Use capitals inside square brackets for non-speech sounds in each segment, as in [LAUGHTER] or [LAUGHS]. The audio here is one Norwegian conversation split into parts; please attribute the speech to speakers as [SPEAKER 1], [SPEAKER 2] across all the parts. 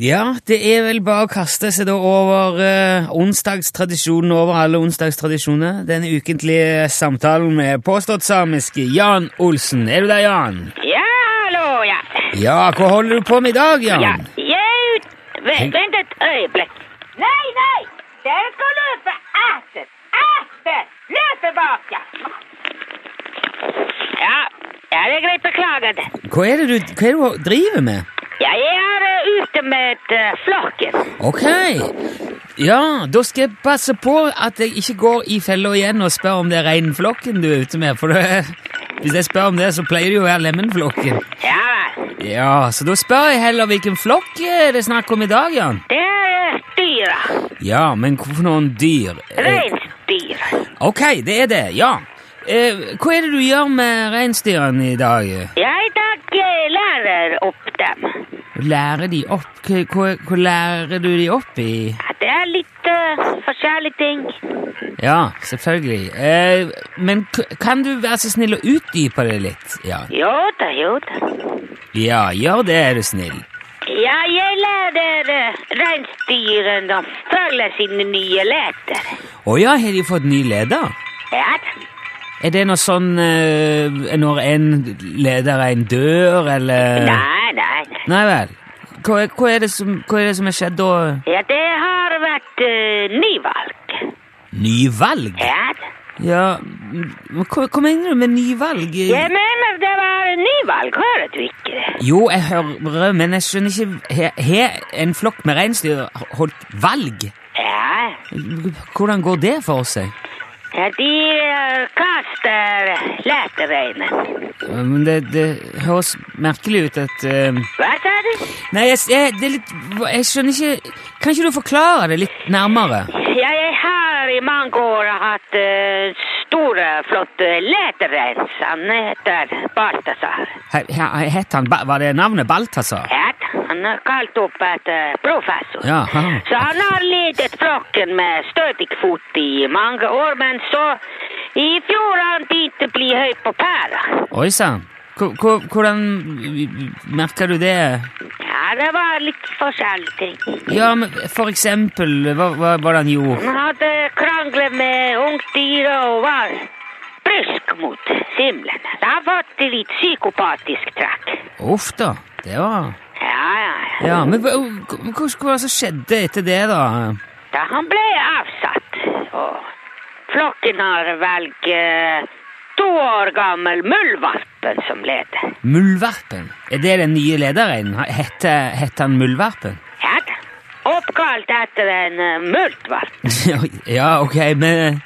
[SPEAKER 1] Ja, det er vel bare å kaste seg da over eh, onsdagstradisjonen over alle onsdagstradisjoner. Den ukentlige samtalen med påstått samiske Jan Olsen. Er du der, Jan?
[SPEAKER 2] Ja, hallo, ja.
[SPEAKER 1] Ja, hva holder du på med i dag, Jan?
[SPEAKER 2] ja. Jeg vent, vent et øyeblikk. Nei, nei! Dere skal løpe etter! Etter! Løpe bak, ja! Ja, ja det er greit. Beklager det.
[SPEAKER 1] Hva er det du, hva er det du driver med?
[SPEAKER 2] Ja, jeg er eh, ute med eh, flokken.
[SPEAKER 1] Ok. Ja, da skal jeg passe på at jeg ikke går i fella igjen og spør om det er reinflokken du er ute med, for det, hvis jeg spør om det, så pleier det jo å være lemenflokken.
[SPEAKER 2] Ja vel.
[SPEAKER 1] Ja, så da spør jeg heller hvilken flokk er det snakk om i dag, Jan.
[SPEAKER 2] Det er eh, dyra.
[SPEAKER 1] Ja, men hvorfor noen dyr? Eh,
[SPEAKER 2] Reinsdyr.
[SPEAKER 1] ok, det er det, ja. Eh, hva er det du gjør med reinsdyrene i dag?
[SPEAKER 2] Ja, i dag eh, lærer opp dem.
[SPEAKER 1] Lærer de opp? Hva, hva, hva lærer du de opp i?
[SPEAKER 2] Ja, det er litt eh, forskjellige ting.
[SPEAKER 1] Ja, selvfølgelig. Eh, men k- kan du være så snill å utdype det litt? Ja,
[SPEAKER 2] Jo da, jo da.
[SPEAKER 1] ja gjør det, er du snill.
[SPEAKER 2] Ja, jeg lærer uh, reinsdyrene å følge sine nye leter.
[SPEAKER 1] Å ja, har de fått ny leder?
[SPEAKER 2] Ja,
[SPEAKER 1] Er det noe sånn eh, når en leder er en dør, eller
[SPEAKER 2] nei, nei. nei.
[SPEAKER 1] Nei vel. Hva, er- hva, er det som, hva er det som er skjedd da?
[SPEAKER 2] Ja, det har vært uh, nyvalg.
[SPEAKER 1] Nyvalg?
[SPEAKER 2] Ja,
[SPEAKER 1] Ja, m- hva, hva mener du med nyvalg?
[SPEAKER 2] jeg mener det var nyvalg, hører du ikke det?
[SPEAKER 1] Jo, jeg hører, men jeg skjønner ikke Har- Har en flokk med reinsdyr holdt valg?
[SPEAKER 2] Ja,
[SPEAKER 1] Hvordan går det for seg?
[SPEAKER 2] ja de eh, kaster letereinen.
[SPEAKER 1] Ja, Men det, det høres merkelig ut at eh,
[SPEAKER 2] Hva sa du?
[SPEAKER 1] Nei, jeg, jeg, det er litt Jeg skjønner ikke Kan ikke du forklare det litt nærmere?
[SPEAKER 2] Ja, jeg har i mange år hatt eh, store, flotte leterein. Han heter Balthazar.
[SPEAKER 1] He- he- Het han Ba- Var det navnet Balthazar?
[SPEAKER 2] Ja, han er kalt opp etter professor.
[SPEAKER 1] Ja, han-
[SPEAKER 2] Så han har ledet flokken med stødig fot i mange år, men så i fjor har han begynt å bli høy på pæra.
[SPEAKER 1] Oi sann. Hvor- hvor- Hvordan merker du det?
[SPEAKER 2] Ja, det var litt forskjellige ting.
[SPEAKER 1] Ja, men for eksempel Hva, hva var det han gjorde?
[SPEAKER 2] Han hadde krangler med ungdyr og var brysk mot simlen. Han fått litt psykopatisk trekk.
[SPEAKER 1] Uff da. Det var
[SPEAKER 2] Ja, ja, ja.
[SPEAKER 1] Ja, men hva hva- hva var det som skjedde etter det, da?
[SPEAKER 2] Da han ble avsatt, og flokken har velg eh, to år gammel muldvarpen som leder.
[SPEAKER 1] Muldvarpen? Er det den nye lederen? Hette, hette han Muldvarpen? [LAUGHS]
[SPEAKER 2] Ja, da. oppkalt etter en eh, muldvarp.
[SPEAKER 1] ja, ok, men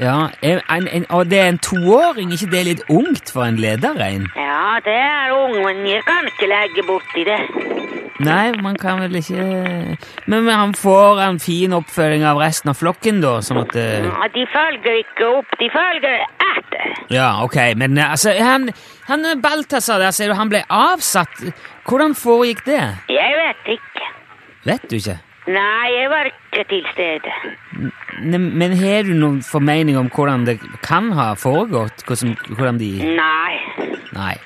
[SPEAKER 1] ja, en, en, en, Og det er en toåring, ikke det er litt ungt for en lederrein?
[SPEAKER 2] Ja, det er ung, men jeg kan ikke legge borti det.
[SPEAKER 1] Nei, man kan vel ikke Men, men han får en fin oppfølging av resten av flokken, da, sånn at eh,
[SPEAKER 2] Ja, de følger ikke opp, de følger etter.
[SPEAKER 1] Ja, ok, men eh, altså, han, han eh, Balthazar der, sier du, han ble avsatt. Hvordan foregikk det?
[SPEAKER 2] Jeg vet ikke.
[SPEAKER 1] Vet du ikke?
[SPEAKER 2] Nei, jeg var ikke til stede.
[SPEAKER 1] Ne, men har du noen formening om hvordan det kan ha foregått? Hvordan, hvordan de
[SPEAKER 2] Nei.
[SPEAKER 1] Nei.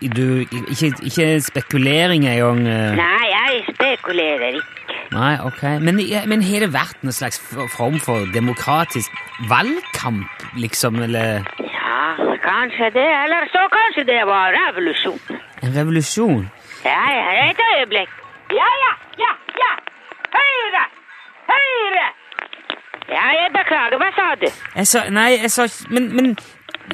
[SPEAKER 1] Du, ikke, ikke spekulering engang? eh.
[SPEAKER 2] Nei, jeg spekulerer ikke.
[SPEAKER 1] Nei, ok. Men, men har det vært noen slags f- form for demokratisk valgkamp, liksom? Eller
[SPEAKER 2] Ja, kanskje det, eller så kanskje det var revolusjon.
[SPEAKER 1] en revolusjon?
[SPEAKER 2] Ja, ja, et øyeblikk. Ja, ja, ja, ja. Høyre! Høyre! Ja, jeg beklager. Hva sa du?
[SPEAKER 1] Jeg sa, nei, jeg sa ikke Men,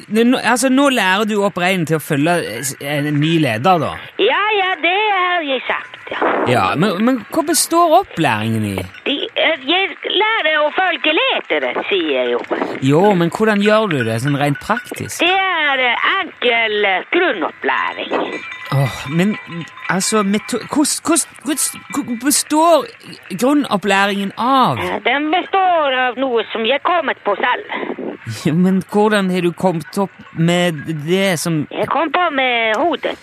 [SPEAKER 1] men nå- altså, nå lærer du opp reinen til å følge eh, s- en ny leder, da.
[SPEAKER 2] Ja, ja, det har jeg sagt, ja.
[SPEAKER 1] Ja, Men, men hva består opplæringen i?
[SPEAKER 2] De, eh, jeg lærer å følge letere, sier jeg jo.
[SPEAKER 1] Jo, men hvordan gjør du det sånn rent praktisk?
[SPEAKER 2] Det er eh, enkel eh, grunnopplæring.
[SPEAKER 1] Åh, men altså meto hvordan- hvordan- hvordan- Hva består grunnopplæringen av?
[SPEAKER 2] Eh, Den består av noe som jeg kommet på selv.
[SPEAKER 1] Ja, Men hvordan har du kommet opp med det som
[SPEAKER 2] Jeg kom på med hodet.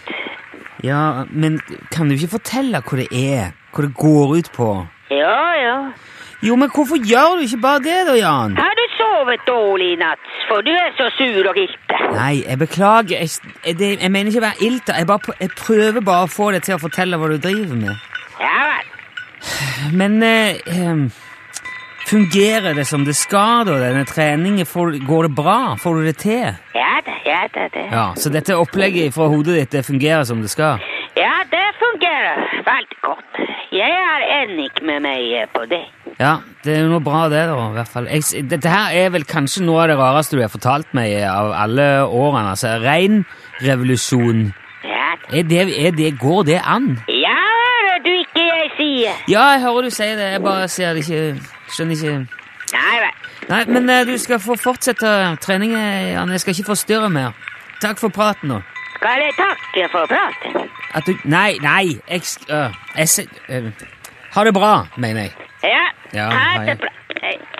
[SPEAKER 1] Ja, men kan du ikke fortelle hva det er? Hva det går ut på?
[SPEAKER 2] Ja, ja.
[SPEAKER 1] Jo, men hvorfor gjør du ikke bare det, da, Jan?
[SPEAKER 2] Har du sovet dårlig i natt? For du er så sur og gilte.
[SPEAKER 1] Nei, jeg beklager. Jeg, jeg, det, jeg mener ikke å være ilter. Jeg, bare, pr- jeg prøver bare å få deg til å fortelle hva du driver med.
[SPEAKER 2] Ja vel.
[SPEAKER 1] Men eh, eh, fungerer det som det skal, da, denne treningen? Får, går det bra? Får du det til?
[SPEAKER 2] Ja da, ja da, det.
[SPEAKER 1] Ja, Så dette opplegget fra hodet ditt det fungerer som det skal?
[SPEAKER 2] Ja, det fungerer veldig godt. Jeg er enig med meg eh, på det.
[SPEAKER 1] Ja, det er jo noe bra det, da. i hvert fall. Jeg, s- dette her er vel kanskje noe av det rareste du har fortalt meg av alle årene. altså Rein revolusjon.
[SPEAKER 2] Ja,
[SPEAKER 1] Er det, er det, går det an?
[SPEAKER 2] ja hører du ikke jeg sier?
[SPEAKER 1] Ja, jeg hører du sier det. Jeg bare ser det ikke Skjønner ikke
[SPEAKER 2] Nei vel.
[SPEAKER 1] Nei, men eh, du skal få fortsette treningen, Jan. Jeg skal ikke forstyrre mer. Takk for praten nå.
[SPEAKER 2] Skal jeg takke for praten?
[SPEAKER 1] At du Nei, nei! Jeg, sk- øh, jeg se- øh, Ha det bra, mener jeg.
[SPEAKER 2] Ja,
[SPEAKER 1] Ja,
[SPEAKER 2] ha
[SPEAKER 1] hei.
[SPEAKER 2] det bra. Hei.